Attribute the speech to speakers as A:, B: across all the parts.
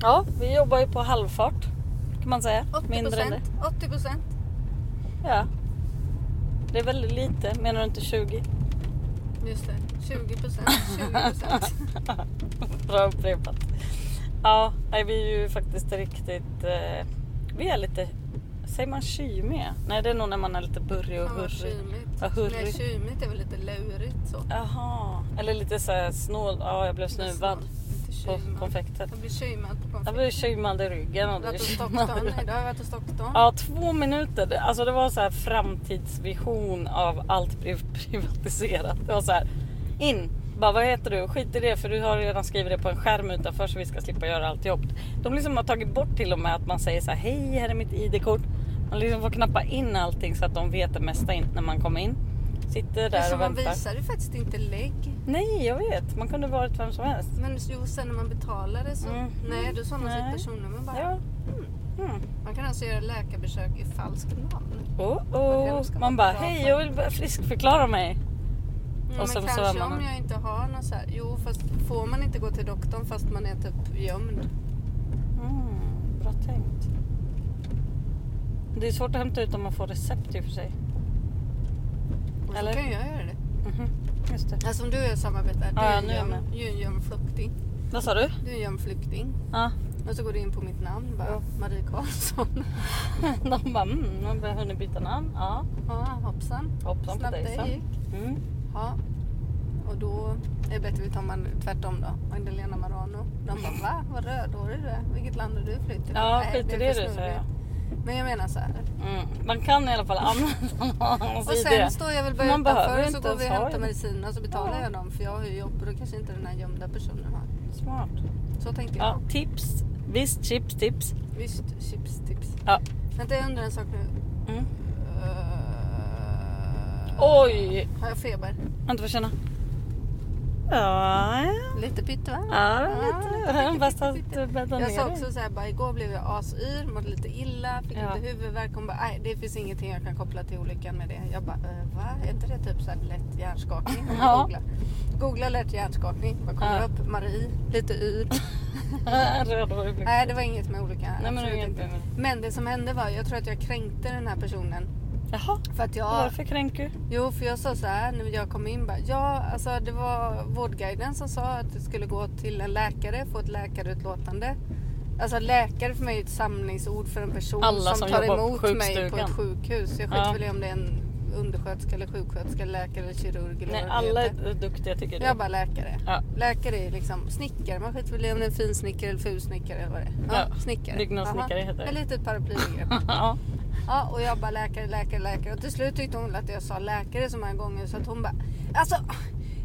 A: Ja, vi jobbar ju på halvfart kan man säga.
B: 80
A: Mindre än det.
B: procent. 80 procent.
A: Ja. Det är väldigt lite, menar du inte 20?
B: Just det. 20 procent. 20 procent.
A: Bra upprepat. Ja, nej, vi är ju faktiskt riktigt... Eh, vi är lite... Säger man kymiga? Nej, det är nog när man är lite burrig och
B: Fan vad
A: hurrig.
B: kymigt.
A: Vad hurrig.
B: Nej, kymigt är väl lite lurigt så.
A: Jaha. Eller lite så här snål. Ja, jag blev snuvad
B: Inte
A: på
B: kymad.
A: konfekten.
B: Jag blir kymad på
A: Jag blev
B: konfekt.
A: kymad i ryggen. Och
B: Jag har
A: det
B: varit hos
A: kymade-
B: doktorn idag. Jag har varit hos doktorn.
A: Ja, två minuter. Det- Alltså det var så här framtidsvision av allt priv- privatiserat. Det var så här, in, bara vad heter du? Skit i det för du har redan skrivit det på en skärm utanför så vi ska slippa göra allt jobb. De liksom har tagit bort till och med att man säger så här, hej här är mitt ID-kort. Man liksom får knappa in allting så att de vet det mesta in när man kommer in. Sitter där
B: Alltså,
A: och
B: man
A: väntar.
B: visar ju faktiskt inte lägg.
A: Nej, jag vet. Man kunde varit vem som helst.
B: Men jo, sen när man betalade så...
A: Mm.
B: Nej, då sa man
A: Nej.
B: sitt personnummer bara.
A: Ja. Mm.
B: Man kan alltså göra läkarbesök i falskt namn.
A: Oh,
B: Vem
A: oh.
B: ska
A: Man
B: man
A: bara,
B: dra
A: hej
B: för?
A: jag vill bara friskförklara mig.
B: Mm,
A: Och
B: men
A: så- så
B: kanske
A: är man-
B: om jag inte har någon så här... Jo, fast får man inte gå till doktorn fast man är typ gömd?
A: Mm, bra tänkt. Det är svårt att hämta ut om man får recept i och för sig.
B: Och så
A: Eller?
B: kan jag göra det.
A: Mhm, Just det.
B: Alltså om du och jag samarbetar. Du
A: Ja,
B: är
A: nu är jag
B: en
A: med.
B: gömd- du är en gömd flykting.
A: Vad sa du?
B: Du är en gömd flykting.
A: Ja.
B: Och så går du in på mitt namn bara.
A: Ja.
B: Marie Karlsson.
A: De bara, mm, man har hunnit byta namn. Ja,
B: Ja, hoppsan.
A: hoppsan på
B: Snabbt
A: dig
B: det
A: sen.
B: gick.
A: Mm.
B: Ja. Och då är det bättre om man tvärtom då. Magdalena Marano. De bara va? Vad rödhårig du är. Vilket land har du flytt till?
A: Ja,
B: Nej,
A: skit i
B: är
A: det
B: för
A: du säger jag.
B: snurrigt. Men jag menar så här.
A: Mm. Man kan i alla fall använda någons
B: Och
A: idé.
B: sen står jag väl bara
A: Man behöver
B: utanför och
A: inte
B: så går
A: ens
B: vi och
A: ha
B: hämtar
A: det.
B: medicinerna och så betalar
A: Ja.
B: jag dem för jag har ju jobb och då kanske inte den här gömda personen har.
A: Smart.
B: Så tänker jag.
A: Ja, tips. Visst, chips, tips.
B: Visst, chips, tips.
A: Ja.
B: Vänta jag undrar en sak nu.
A: Mm.
B: Eh,
A: Oj!
B: Har jag feber?
A: Vänta, får jag känna? Ja, ja.
B: Lite pytt va?
A: Ja,
B: Ja,
A: lite. Bäst att du bäddar ner
B: Jag sa
A: dig.
B: också så här, bara, igår blev jag asyr, mådde lite illa, fick
A: Ja.
B: lite huvudvärk. Hon bara, nej det finns ingenting jag kan koppla till olyckan med det. Jag bara, eh, va? Är inte det typ så här lätt hjärnskakning? Hon
A: Ja.
B: Googla. Googla lätt hjärnskakning. Vad kommer
A: Ja.
B: upp? Marie, lite yr.
A: Rödhårig blick.
B: nej det var inget med olyckan.
A: Nej men det
B: absolut
A: är inget
B: inte.
A: mer med det.
B: men det som hände var, jag tror att jag kränkte den här personen.
A: Jaha,
B: För att jag...
A: varför kränker du?
B: Jo, för jag sa så här när jag kom in. Bara, ja, alltså det var vårdguiden som sa att du skulle gå till en läkare, få ett läkarutlåtande. Alltså läkare för mig är ett samlingsord för en person
A: Alla som
B: tar
A: jobbar på
B: emot mig på
A: sjukstugan.
B: ett sjukhus. Jag skiter
A: Ja.
B: väl i om det är en undersköterska eller sjuksköterska, läkare eller kirurg eller
A: Nej,
B: vad det
A: alla
B: heter.
A: är duktiga tycker du.
B: Jag bara läkare.
A: Ja.
B: Läkare är liksom snickare. Man skiter väl i om det är en finsnickare eller fulsnickare eller vad det är. Ja,
A: Ja,
B: Snickare.
A: byggnadssnickare heter det.
B: Ett litet paraplybegrepp.
A: ja.
B: Ja, och jag bara läkare, läkare, läkare. Och till slut tyckte hon att jag sa läkare så många gånger så att hon bara Alltså,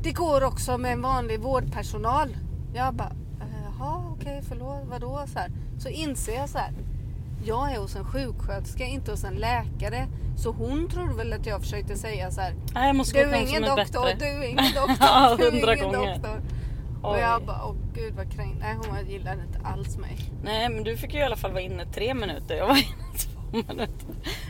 B: det går också med en vanlig vårdpersonal. Jag bara, jaha okej förlåt, vadå? Så, här. så inser jag så här. Jag är hos en sjuksköterska, inte hos en läkare. Så hon tror väl att jag försökte säga så här.
A: Nej, jag måste
B: Du
A: gå till
B: är
A: någon som
B: ingen
A: är
B: doktor,
A: bättre.
B: du är ingen
A: Ja,
B: doktor, du
A: hundra
B: är ingen
A: gånger.
B: doktor. Och
A: Oj.
B: jag bara, åh gud vad kränkt. Nej hon gillade inte alls mig.
A: Nej men du fick ju i alla fall vara inne tre minuter. Jag var inne två minuter.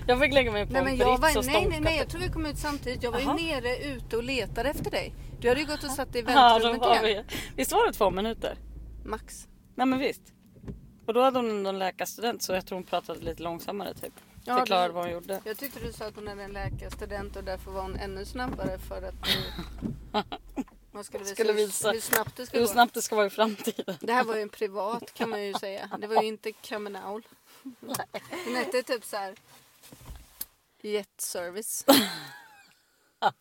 A: Jag fick lägga mig på
B: Nej,
A: en
B: men jag
A: brits och typ.
B: var, nej, nej, nej, jag
A: ståndkaffe.
B: tror vi kom ut samtidigt. Jag var
A: Jaha.
B: ju nere ute och letade efter dig. Du hade ju gått och satt i
A: Ja, då
B: väntrummet
A: var
B: igen.
A: vi. Visst var det två minuter?
B: Max.
A: Nej men visst. Och då hade hon någon läkarstudent så jag tror hon pratade lite långsammare typ.
B: Ja,
A: Förklarade
B: det-
A: vad hon gjorde.
B: Jag tyckte du sa att hon hade en läkarstudent och därför var hon ännu snabbare för att du... Man skulle visa,
A: Skulle
B: skulle
A: visa
B: visa hur snabbt det skulle
A: Hur
B: gå.
A: snabbt det ska vara i framtiden.
B: Det här var ju en privat kan man ju säga. Det var ju inte Kamenaul. Den hette typ så här... Jetservice. Ja,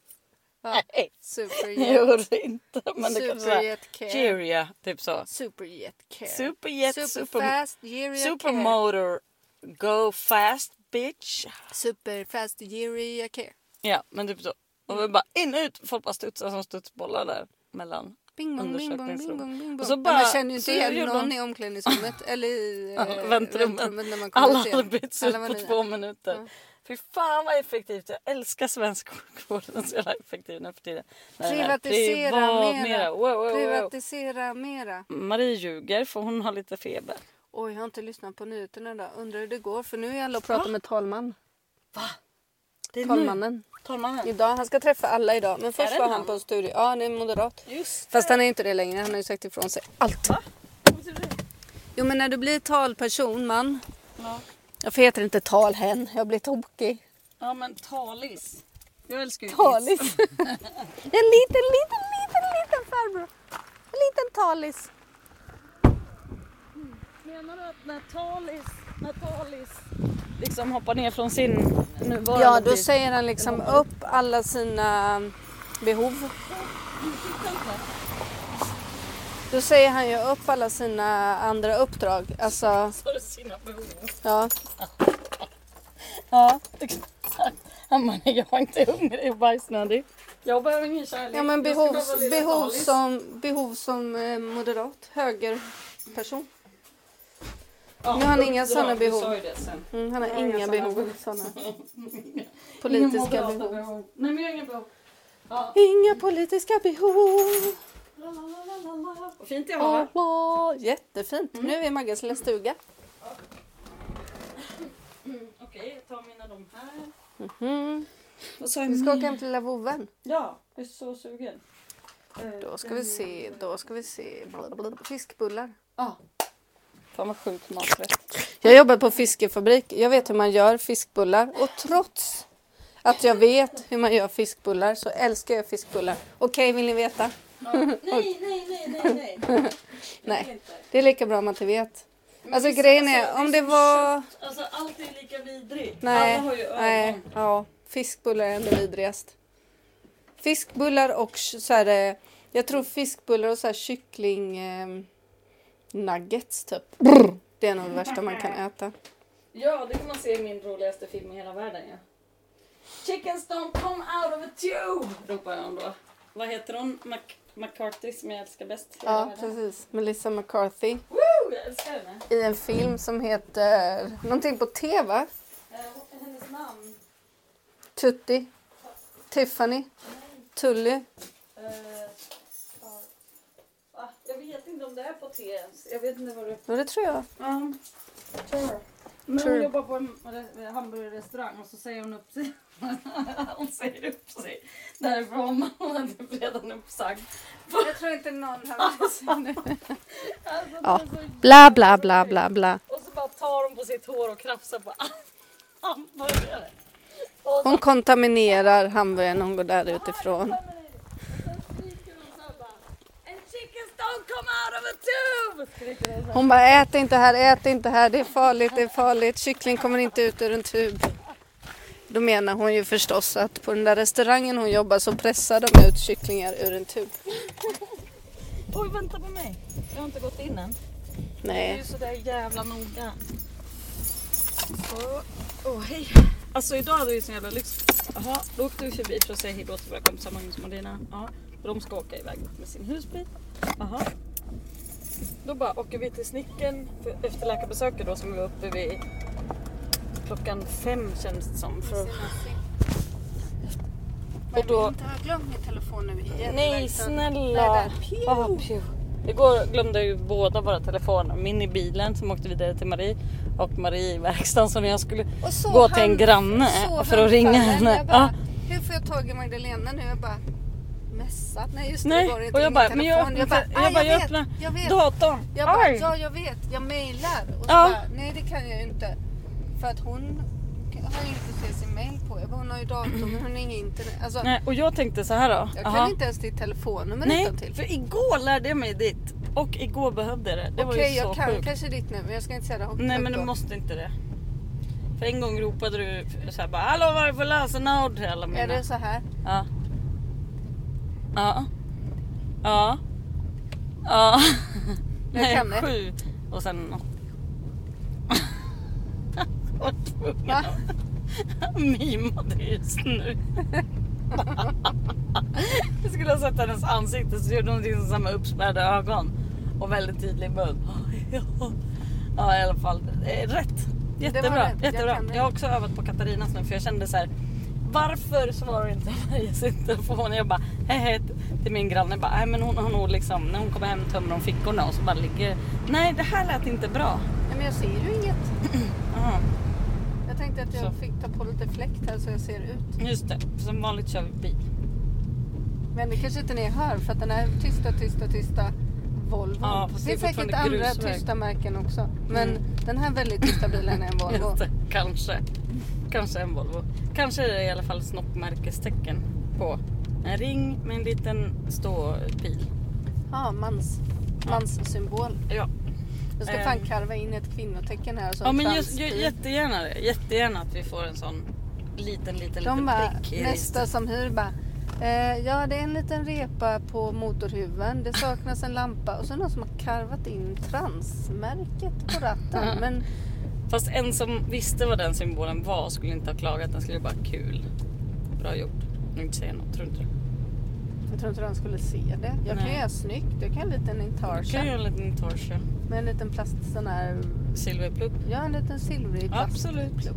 A: Nej. Det
B: Superjet.
A: gör det inte. Men det kanske är
B: Superjet care.
A: Cheeria, typ så.
B: Superjet care.
A: Superjet, super,
B: Superfast Yuri Care.
A: supermotor, go fast bitch.
B: Superfast Yuri Care.
A: Ja, men typ så. Och vi
B: Mm.
A: bara in ut. Folk bara studsar som studsbollar där mellan.
B: Bing bong, bing bong, bing bong, bing bong.
A: Och så
B: Ja,
A: bara-
B: man känner ju inte
A: så
B: igen
A: gjorde
B: någon
A: hon-
B: i omklädningsrummet eller i eh,
A: väntrummet.
B: när man kommer
A: Alla
B: ut
A: hade
B: igen.
A: bytts ut
B: Alla Mm. var
A: på
B: nya.
A: två minuter.
B: Ja.
A: Fy fan vad effektivt. Jag älskar svensk sjukvård. Den är så jävla effektiv nu för tiden. Nej, nej,
B: Privatisera
A: privat
B: mera.
A: mera. Wow, wow, wow.
B: Privatisera mera.
A: Marie ljuger för hon har lite feber.
B: Oj, jag har inte lyssnat på nyheterna idag. Undrar hur det går för nu är alla och pratar med talman.
A: Det är
B: Talmannen.
A: Talmannen.
B: Idag, han ska träffa alla idag. Men
A: Är det
B: först var
A: han?
B: han på en studie. Ja, han är moderat.
A: Just
B: Fast han är inte det längre. Han har ju sagt ifrån sig allt.
A: Va?
B: Jo men när du blir talperson man.
A: Ja.
B: Jag heter inte talhen, jag blir tokig.
A: ja men talis. Jag älskar ju
B: Talis. en liten, liten, liten, liten farbror. En liten talis.
A: Menar du att när Talis, när Talis liksom hoppar ner från sin nuvarande
B: Ja, då
A: tid-
B: säger han liksom upp alla sina um, behov. Då säger han ju upp alla sina andra uppdrag. Alltså,
A: Så har du sina behov.
B: ja.
A: Ja, exakt. Han bara, nej, jag är inte hungrig och bajsnödig. Jag behöver ingen kärlek.
B: Ja, men
A: Jag ska
B: behov,
A: bara vara lite
B: behov,
A: Talis.
B: som, behov som eh, moderat, högerperson.
A: Ja,
B: nu har han inga
A: uppdrag,
B: såna
A: du
B: behov.
A: sa ju det sen.
B: Mm, han
A: Jag
B: har
A: har inga
B: inga
A: sådana.
B: behov. Såna.
A: Inga
B: Politiska
A: moderata
B: behov.
A: Nej, men jag har inga behov. Ja.
B: Inga politiska behov.
A: La, la, la, la, la. Vad fint jag har.
B: Åh, åh, jättefint. Nu är vi i Maggas lilla stuga.
A: Okej, jag tar mina de här.
B: Mm.
A: Och så en
B: Vi ska åka hem till lilla vovven.
A: Ja, jag är så sugen. Eh,
B: Då ska vi se, då ska vi se. Blablabla. Fiskbullar.
A: Ja. Fan vad sjukt maträtt.
B: Jag jobbar på fiskefabrik. Jag vet hur man gör fiskbullar. Och trots att jag vet hur man gör fiskbullar så älskar jag fiskbullar. Okej, vill ni veta?
A: Nej, nej, nej, nej, nej.
B: Nej.
A: Det är inte.
B: Det är lika bra om man inte vet.
A: Men
B: Alltså
A: vissa-
B: grejen är,
A: alltså,
B: om
A: är
B: det
A: som
B: var...
A: kött. Alltså allt är lika vidrigt.
B: Nej,
A: Alla har ju ögon.
B: nej, ja. Fiskbullar är ändå vidrigast. Fiskbullar och sh- så här, eh, jag tror fiskbullar och så här kyckling eh, nuggets typ. Brr. Det är nog det värsta man kan äta.
A: Ja, det kan man se i min roligaste film i hela världen ja. Chickens don't come out of a tube! Ropar hon då. Vad heter hon? Mac- McCarthy som jag älskar bäst i hela
B: Ja,
A: världen.
B: precis. Melissa McCarthy
A: Woo! Jag älskar henne.
B: i en film som heter någonting på T va?
A: Eh, vad är hennes namn?
B: Tutti, Tiffany, Tully.
A: Eh, ja. Va? jag vet inte om det är på T ens. Jag vet inte vad det
B: Ja, det tror jag.
A: Ja. Sure. Men
B: Sure.
A: hon jobbar på en re- hamburgerrestaurang och så säger hon upp sig. hon säger upp sig därifrån. Hon är typ redan uppsagd.
B: Jag tror inte någon har
A: Alltså, det
B: Ja.
A: är så-
B: Bla, bla, bla, bla, bla.
A: Och så bara tar hon på sitt hår och krafsar på hamburgare. Och så
B: Hon kontaminerar hamburgaren när hon går där utifrån.
A: skriker hon så här bara. And chickens don't come out of a tube! Skriker hon så här.
B: Hon bara ät inte här, ät inte här, det är farligt, det är farligt. Kyckling kommer inte ut ur en tub. Då menar hon ju förstås att på den där restaurangen hon jobbar så pressar de ut kycklingar ur en tub.
A: Oj, vänta på mig. Jag har inte gått in än. Det är
B: Nej.
A: ju sådär jävla noga. Så. Åh, hej. Alltså idag hade vi sån jävla lyx. Jaha, då åkte vi förbi för att säga hejdå till våra kompisar Magnus och Marlena. Ja, för de ska åka iväg med sin husbil. Jaha. Då bara åker vi till Snicken för, efter läkarbesöket då som vi var uppe vid klockan fem känns det som. För, och då,
B: ha glömt min telefon nu igen.
A: nej snälla. Ah, pju. Igår glömde ju båda våra telefoner. Min i bilen som åkte vidare till Marie och Marie i verkstaden. Så när jag skulle
B: Och så
A: gå till en
B: han-
A: granne
B: så
A: för att ringa
B: handfallen.
A: henne.
B: Jag
A: Ja.
B: bara, Hur får jag tag i Magdalena nu? Jag bara, mässa? Nej just det,
A: Nej,
B: det går inte.
A: och jag
B: ingen
A: bara, men
B: telefon.
A: jag öppnar, jag bara,
B: "Ah,
A: jag bara, jag
B: vet,
A: öppnar
B: jag vet.
A: datorn.
B: Jag bara,
A: Aj!
B: ja jag vet, jag mejlar. Och så
A: Ja.
B: bara, nej det kan jag ju inte. För att hon har inget att se sin mejl på. Jag bara, hon har ju dator men hon har inget internet. Alltså,
A: Nej, och jag tänkte så här då.
B: jag
A: aha.
B: kan inte ens ditt telefonnummer
A: Nej,
B: utantill.
A: för igår lärde jag mig ditt och igår behövde jag det. Det var ju
B: Okej,
A: så
B: jag kan
A: sjukt.
B: kanske ditt nu men jag ska inte säga det högt
A: Nej
B: upp
A: men du
B: då.
A: måste inte det. För en gång ropade du så här bara hallå vad är det för lösenord till alla mina?
B: Är det så här?
A: Ja. Ja. Ja. Ja.
B: Jag
A: Nej,
B: kan det.
A: Sju och sen något. Vad tvungen
B: Va?
A: att mima det just nu. Jag skulle ha sett hennes ansikte så gjorde hon liksom samma uppspärrade ögon och väldigt tydlig mun. Ja i alla fall, Eh, rätt.
B: Det var
A: Jättebra.
B: rätt. Jag
A: Jättebra.
B: kan det.
A: Jag har också övat på Katarinas nu för jag kände så här. Varför svarar inte Maria sin telefon? Jag bara hej hej till min granne. Jag Bara, nej men hon har nog liksom när hon kommer hem tömmer hon fickorna och så bara ligger. Nej det här lät inte bra.
B: Nej men jag ser ju inget.
A: Aha,
B: Jag tänkte att jag
A: Så.
B: fick ta på lite fläkt här så jag ser ut.
A: just det. Som vanligt kör vi bil.
B: Men det kanske inte ni hör för att den här tysta, tysta, tysta Volvo.
A: Ja, fast
B: det är
A: det är
B: säkert andra
A: fortfarande grusväg.
B: tysta märken också. Men
A: Mm.
B: den här väldigt tysta bilen är en Volvo.
A: Just det. Kanske. Kanske en Volvo. Kanske är det i alla fall snoppmärkestecken på en ring med en liten ståpil.
B: Ja, mans.
A: Ja.
B: Manssymbol.
A: Ja,
B: Jag ska
A: Ehm.
B: fan karva in ett kvinnotecken här och så
A: ja
B: en
A: men just,
B: transpil.
A: ju- jättegärna det. Jättegärna att vi får en sån liten, liten,
B: De
A: liten
B: bara,
A: prick i
B: nästa
A: registret.
B: som hyr bara. Eh, ja, det är en liten repa på motorhuven. Det saknas en lampa och så är det någon som har karvat in transmärket på ratten. Men
A: Fast en som visste vad den symbolen var skulle inte ha klagat. Den skulle bara kul. Bra gjort. Nu inte säga något, tror inte du?
B: jag tror inte de skulle se det. Jag kan
A: Nej.
B: göra snyggt. Jag kan göra en liten
A: Du kan
B: intarsia
A: göra en liten torsion.
B: med en liten plast sån här.
A: Silverplupp.
B: Ja, en liten silvrig plast.
A: Absolut. Ja.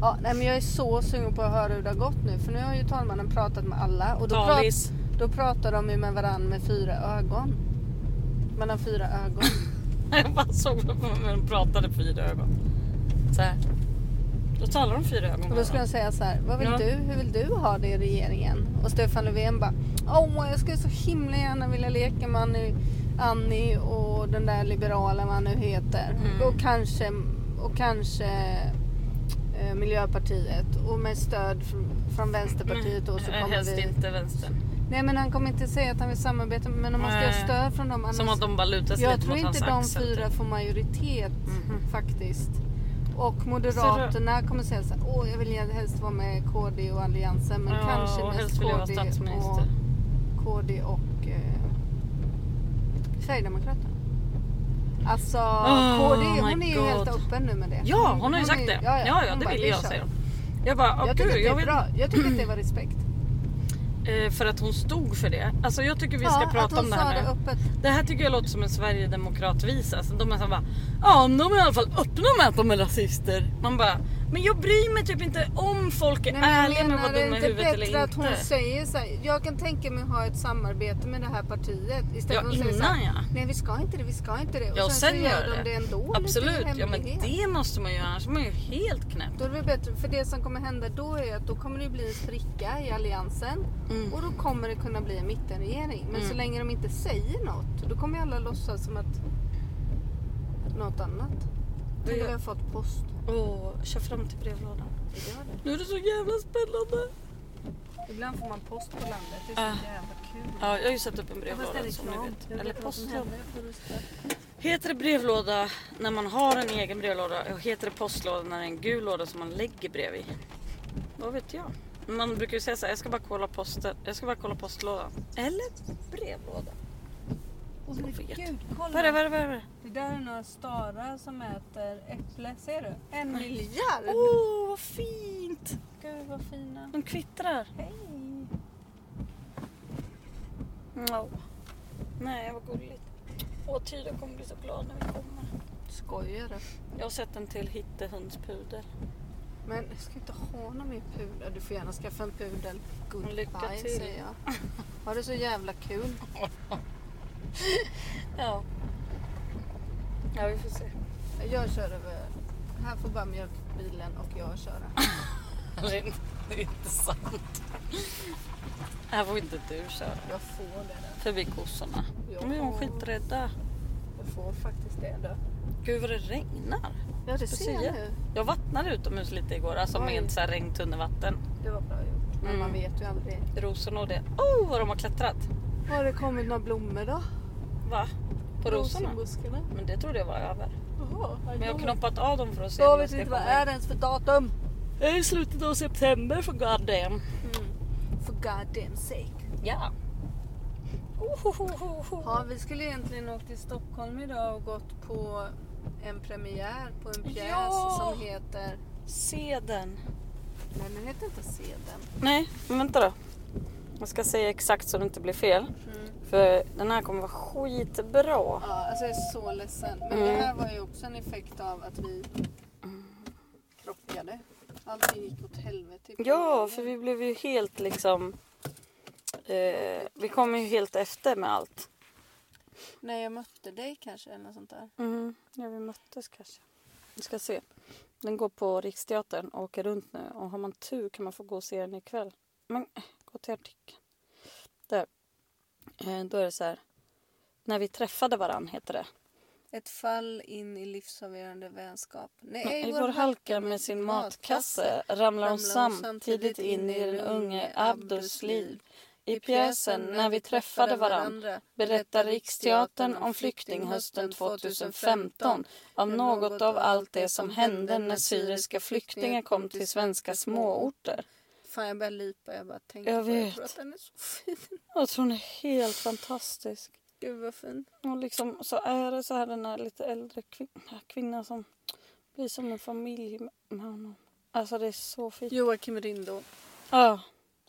B: Ja, nej, men jag är så sugen på att höra hur det har gått nu. För nu har ju talmannen pratat med alla. Och då, prat,
A: Talis.
B: då pratar de ju med varandra med fyra ögon. Man har fyra ögon.
A: Jag bara såg hur de pratade fyra ögon. Så här. Då talar de fyra ögon.
B: Och då skulle de säga så här, vad vill
A: Ja.
B: du? Hur vill du ha det i regeringen? Och Stefan Löfven bara, åh jag skulle så himla gärna vilja leka med Annie, Annie och den där liberala vad han nu heter.
A: Mm.
B: Och kanske, och kanske eh, Miljöpartiet. Och med stöd fr- från Vänsterpartiet då så
A: Mm. Nej,
B: kommer
A: Helst
B: vi...
A: inte vänstern.
B: Nej men han kommer inte säga att han vill samarbeta men om man ska ha
A: Nej.
B: stöd från dem annars...
A: Som att de bara lutar sig
B: jag
A: lite
B: tror
A: mot hans
B: inte de
A: axel,
B: fyra
A: typ.
B: får majoritet
A: Mhm.
B: faktiskt. Och Moderaterna kommer säga så här, åh jag vill gärna helst vara med KD och Alliansen men
A: Ja,
B: kanske
A: och
B: mest
A: helst vill jag vara
B: KD och,
A: statsminister.
B: KD och eh, Sverigedemokraterna. Alltså
A: Oh
B: KD
A: my
B: hon är ju
A: God.
B: helt öppen nu med det.
A: Ja, hon har ju sagt
B: är-
A: det. Ja, ja,
B: hon
A: det
B: bara,
A: ville
B: vi
A: jag
B: kör.
A: säga. Jag bara, ah,
B: Jag tycker
A: gud,
B: att det
A: jag
B: är
A: vill,
B: bra. Jag tycker att det var respekt.
A: eh, för att hon stod för det. Alltså jag tycker vi ska
B: ja, att
A: prata
B: hon
A: om det
B: sa
A: här
B: det
A: nu.
B: öppet.
A: Det här tycker jag låter som en sverigedemokratvisa. Alltså, de är så bara, ja om de är i alla fall öppna med att de är rasister. Man bara, men jag bryr mig typ inte om folk är
B: Nej, men jag
A: ärliga med
B: menar,
A: vad
B: det
A: de
B: är
A: är i
B: inte
A: huvudet eller
B: bättre
A: inte.
B: att hon säger så här, jag kan tänka mig att ha ett samarbete med det här partiet. Istället
A: Ja,
B: för att säga så
A: innan,
B: här,
A: ja.
B: Nej vi ska inte det, vi ska inte det. Och
A: Ja,
B: sen, så
A: sen
B: gör
A: gör
B: de
A: det.
B: det ändå.
A: Absolut,
B: lite i
A: ja men
B: hemlighet.
A: det måste man göra annars är man ju helt knäpp.
B: Då är det väl bättre, för det som kommer hända då är att då kommer det bli en spricka i alliansen.
A: Mm.
B: Och då kommer det kunna bli en mittenregering. Men så
A: Mm.
B: länge de inte säger något, då kommer ju alla låtsas som att något annat. Tänk om vi har fått post.
A: Åh, kör fram till brevlådan.
B: Vi gör det.
A: Nu är det så jävla spännande.
B: Ibland får man post på landet. Det är
A: Ah.
B: så jävla kul.
A: Ja, jag har ju satt upp en
B: Ja, fast det är
A: brevlåda som ni
B: reklam.
A: vet.
B: Jag
A: Eller
B: vet vad som
A: postlåda.
B: händer. Jag får rösta.
A: Heter det brevlåda när man har en egen brevlåda och heter det postlåda när det är en gul låda som man lägger brev i? Vad vet jag? Man brukar ju säga så här, jag ska bara kolla posten. Jag ska bara kolla postlådan. Eller brevlåda.
B: Åh,
A: Så
B: men
A: fet.
B: gud,
A: Vad är det,
B: kolla.
A: vad är det, vad är det?
B: Det där är några starar som äter äpple. Ser du? En miljard!
A: Åh, oh, vad fint!
B: Gud vad fina.
A: De kvittrar.
B: Hej!
A: Ja. Nej, vad gulligt. Åh, Tyra kommer bli så glad när vi kommer.
B: Skojar du?
A: Jag har sett en till hittehundspudel.
B: Men jag ska inte ha någon mer pudel. Du får gärna skaffa en pudel.
A: Lycka
B: Goodbye
A: till.
B: säger jag. Ha det så jävla kul.
A: Ja. Ja, vi får se.
B: Jag kör över. Här får bara mjölkbilen och jag köra.
A: Det är inte- det är inte sant. Här får inte du köra.
B: Jag får det. där.
A: Förbi kossorna.
B: Ja.
A: De är ju skiträdda.
B: Jag får faktiskt det. Då.
A: Gud vad det regnar.
B: Ja det
A: Lucia.
B: ser jag nu.
A: Jag vattnade utomhus lite igår, alltså
B: Oj.
A: med så här regntunnevatten.
B: Det var bra gjort. Men
A: Mm.
B: man vet ju aldrig.
A: Rosorna och det. Oh, vad de har klättrat!
B: Har det kommit några blommor då?
A: Va? På rosorna?
B: Rosinbuskarna?
A: Men det trodde jag var över.
B: Jaha.
A: Men jag har knoppat av dem för att se
B: Jag
A: när
B: vet
A: ska
B: inte vad
A: komma
B: är
A: in.
B: det ens för datum.
A: Det är i slutet av september för god damn.
B: For god damn sake.
A: Ja. Ohohohoho.
B: Ja, vi skulle egentligen åkt till Stockholm idag och gått på en premiär på en pjäs
A: Ja.
B: som heter...
A: Se den.
B: Nej, den heter inte Seden.
A: Nej, men vänta då. Jag ska säga exakt så det inte blir fel.
B: Mm.
A: För den här kommer vara skitbra.
B: Ja, alltså jag är så ledsen. Men
A: Mm.
B: det här var ju också en effekt av att vi krockade. Allting gick åt helvete. i
A: Ja,
B: premiären.
A: för vi blev ju helt liksom... Eh, vi kom ju helt efter med allt.
B: När jag mötte dig kanske eller något sånt där.
A: Mm, ja, vi möttes kanske. Vi ska se. Den går på Riksteatern och åker runt nu. Och har man tur kan man få gå och se den ikväll. Men eh, gå till artikeln. Där. Eh, då är det så här. när vi träffade varann heter det.
B: Ett fall in i livsavgörande vänskap.
A: I vår halka med sin matkasse ramlar hon samtidigt in i den unge Abdus liv. I pjäsen När vi träffade varann berättar Riksteatern om flyktinghösten 2015 av något av allt det som hände när syriska flyktingar kom till svenska småorter.
B: Fan, jag börjar lipa. Jag bara tänker
A: Jag
B: på det. Jag
A: vet.
B: tror att den är så fin.
A: Jag tror Alltså, hon är helt fantastisk.
B: Gud vad fin.
A: Och liksom, så är det så här den här lite äldre kvinnan, kvinnan som blir som en familj med med honom. Alltså det är så fint.
B: Joakim Rindo
A: Ja,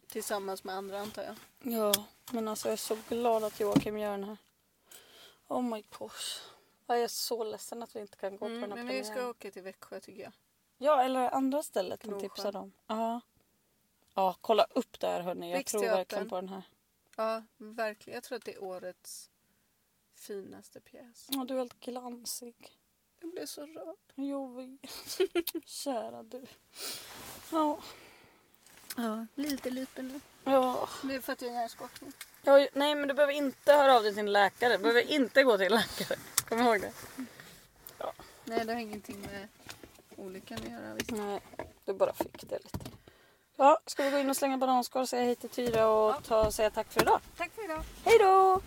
B: tillsammans med andra antar jag.
A: ja. Men alltså jag är så glad att Joakim gör den här. Oh my gosh. Ja, Jag är så ledsen att vi inte kan gå på
B: Mm,
A: den här
B: men vi ska
A: premiären.
B: åka till Växjö tycker jag.
A: Ja, eller andra stället han
B: Gnosjö.
A: tipsade om. Ja. Ja, kolla upp där hörni. Jag tror
B: Riksteatern.
A: verkligen på den här.
B: Ja, verkligen. Jag tror att det är årets finaste pjäs.
A: Ja, du är helt glansig.
B: Jag blev så rörd.
A: Jo, vi- kära du. Ja.
B: Ja, lite lite nu.
A: Ja.
B: Det är för att jag är hjärnskakning.
A: Ja, nej men du behöver inte höra av dig till en läkare. Du behöver inte gå till en läkare. Kom ihåg det.
B: Nej, det har ingenting med olyckan att göra. Visst.
A: Nej, du bara fick det lite. Ja, ska vi gå in och slänga bananskal, säga hej till Tyra och ta, säga tack för idag?
B: Tack för idag.
A: Hej då!